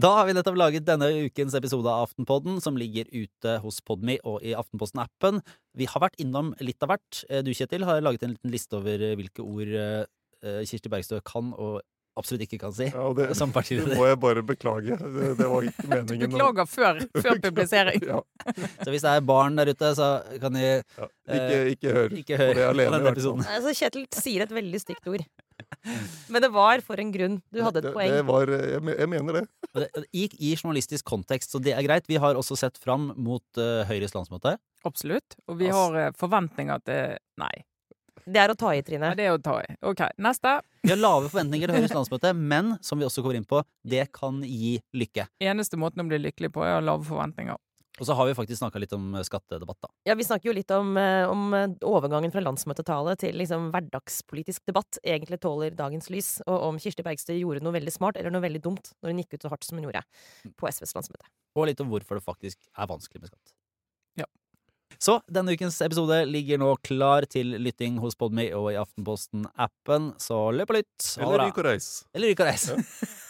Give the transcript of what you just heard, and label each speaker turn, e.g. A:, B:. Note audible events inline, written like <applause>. A: Da har vi nettopp laget denne ukens episode av Aftenpodden, som ligger ute hos Podme og i Aftenposten-appen. Vi har vært innom litt av hvert. Eh, Du, Kjetil, har laget en liten liste over eh, hvilke ord eh, Kirsti Bergstø kan og absolutt ikke kan si
B: Ja, og det,
A: som
B: <laughs> det
A: partileder.
B: må jeg bare beklage. Det, det var
C: <laughs>
B: ikke meningen. å-
C: Beklager før, før publisering.
B: Ja,
A: Så hvis det er barn der ute, så kan de
B: ja.
C: Eh,
B: Ikke, ikke hør.
A: ikke
B: det
A: høre på
B: alene, i
A: denne
B: hvert fall.
A: episoden.
C: Altså, Kjetil sier et veldig stygt ord. Men det var for en grunn. Du hadde et
B: Det-
C: poeng.
B: Det var, eh, jeg, me- jeg mener det.
A: Og det- I, I journalistisk kontekst, så det er greit. Vi har også sett fram mot eh, Høyres landsmøte.
D: Absolutt. Og vi
A: Ass.
D: har eh, forventninger til Nei.
C: Det er å ta i,
D: Nei,
C: Trine.
D: det er å ta i. OK, neste.
A: Vi har lave forventninger til Høyres landsmøte, men som vi også kommer inn på, det kan gi lykke.
D: Eneste måten å bli lykkelig på er å ha lave forventninger.
A: Og så har vi faktisk snakka litt om eh, skattedebatt, da.
C: Ja, Vi snakker jo litt om, eh, om eh, overgangen fra landsmøtetale til liksom hverdagspolitisk debatt egentlig tåler dagens lys, og om Kirsti Bergstø gjorde noe veldig smart eller noe veldig dumt når hun gikk ut så hardt som hun gjorde på SVs landsmøte.
A: og litt om hvorfor det faktisk er vanskelig med skatt.
D: Ja.
A: Så denne ukens episode ligger nå klar til lytting hos Podme og i Aftenposten-appen, så løp og lytt. Ha det
B: Eller
A: bra.
B: ryk og reis.
A: Eller ryk og reis.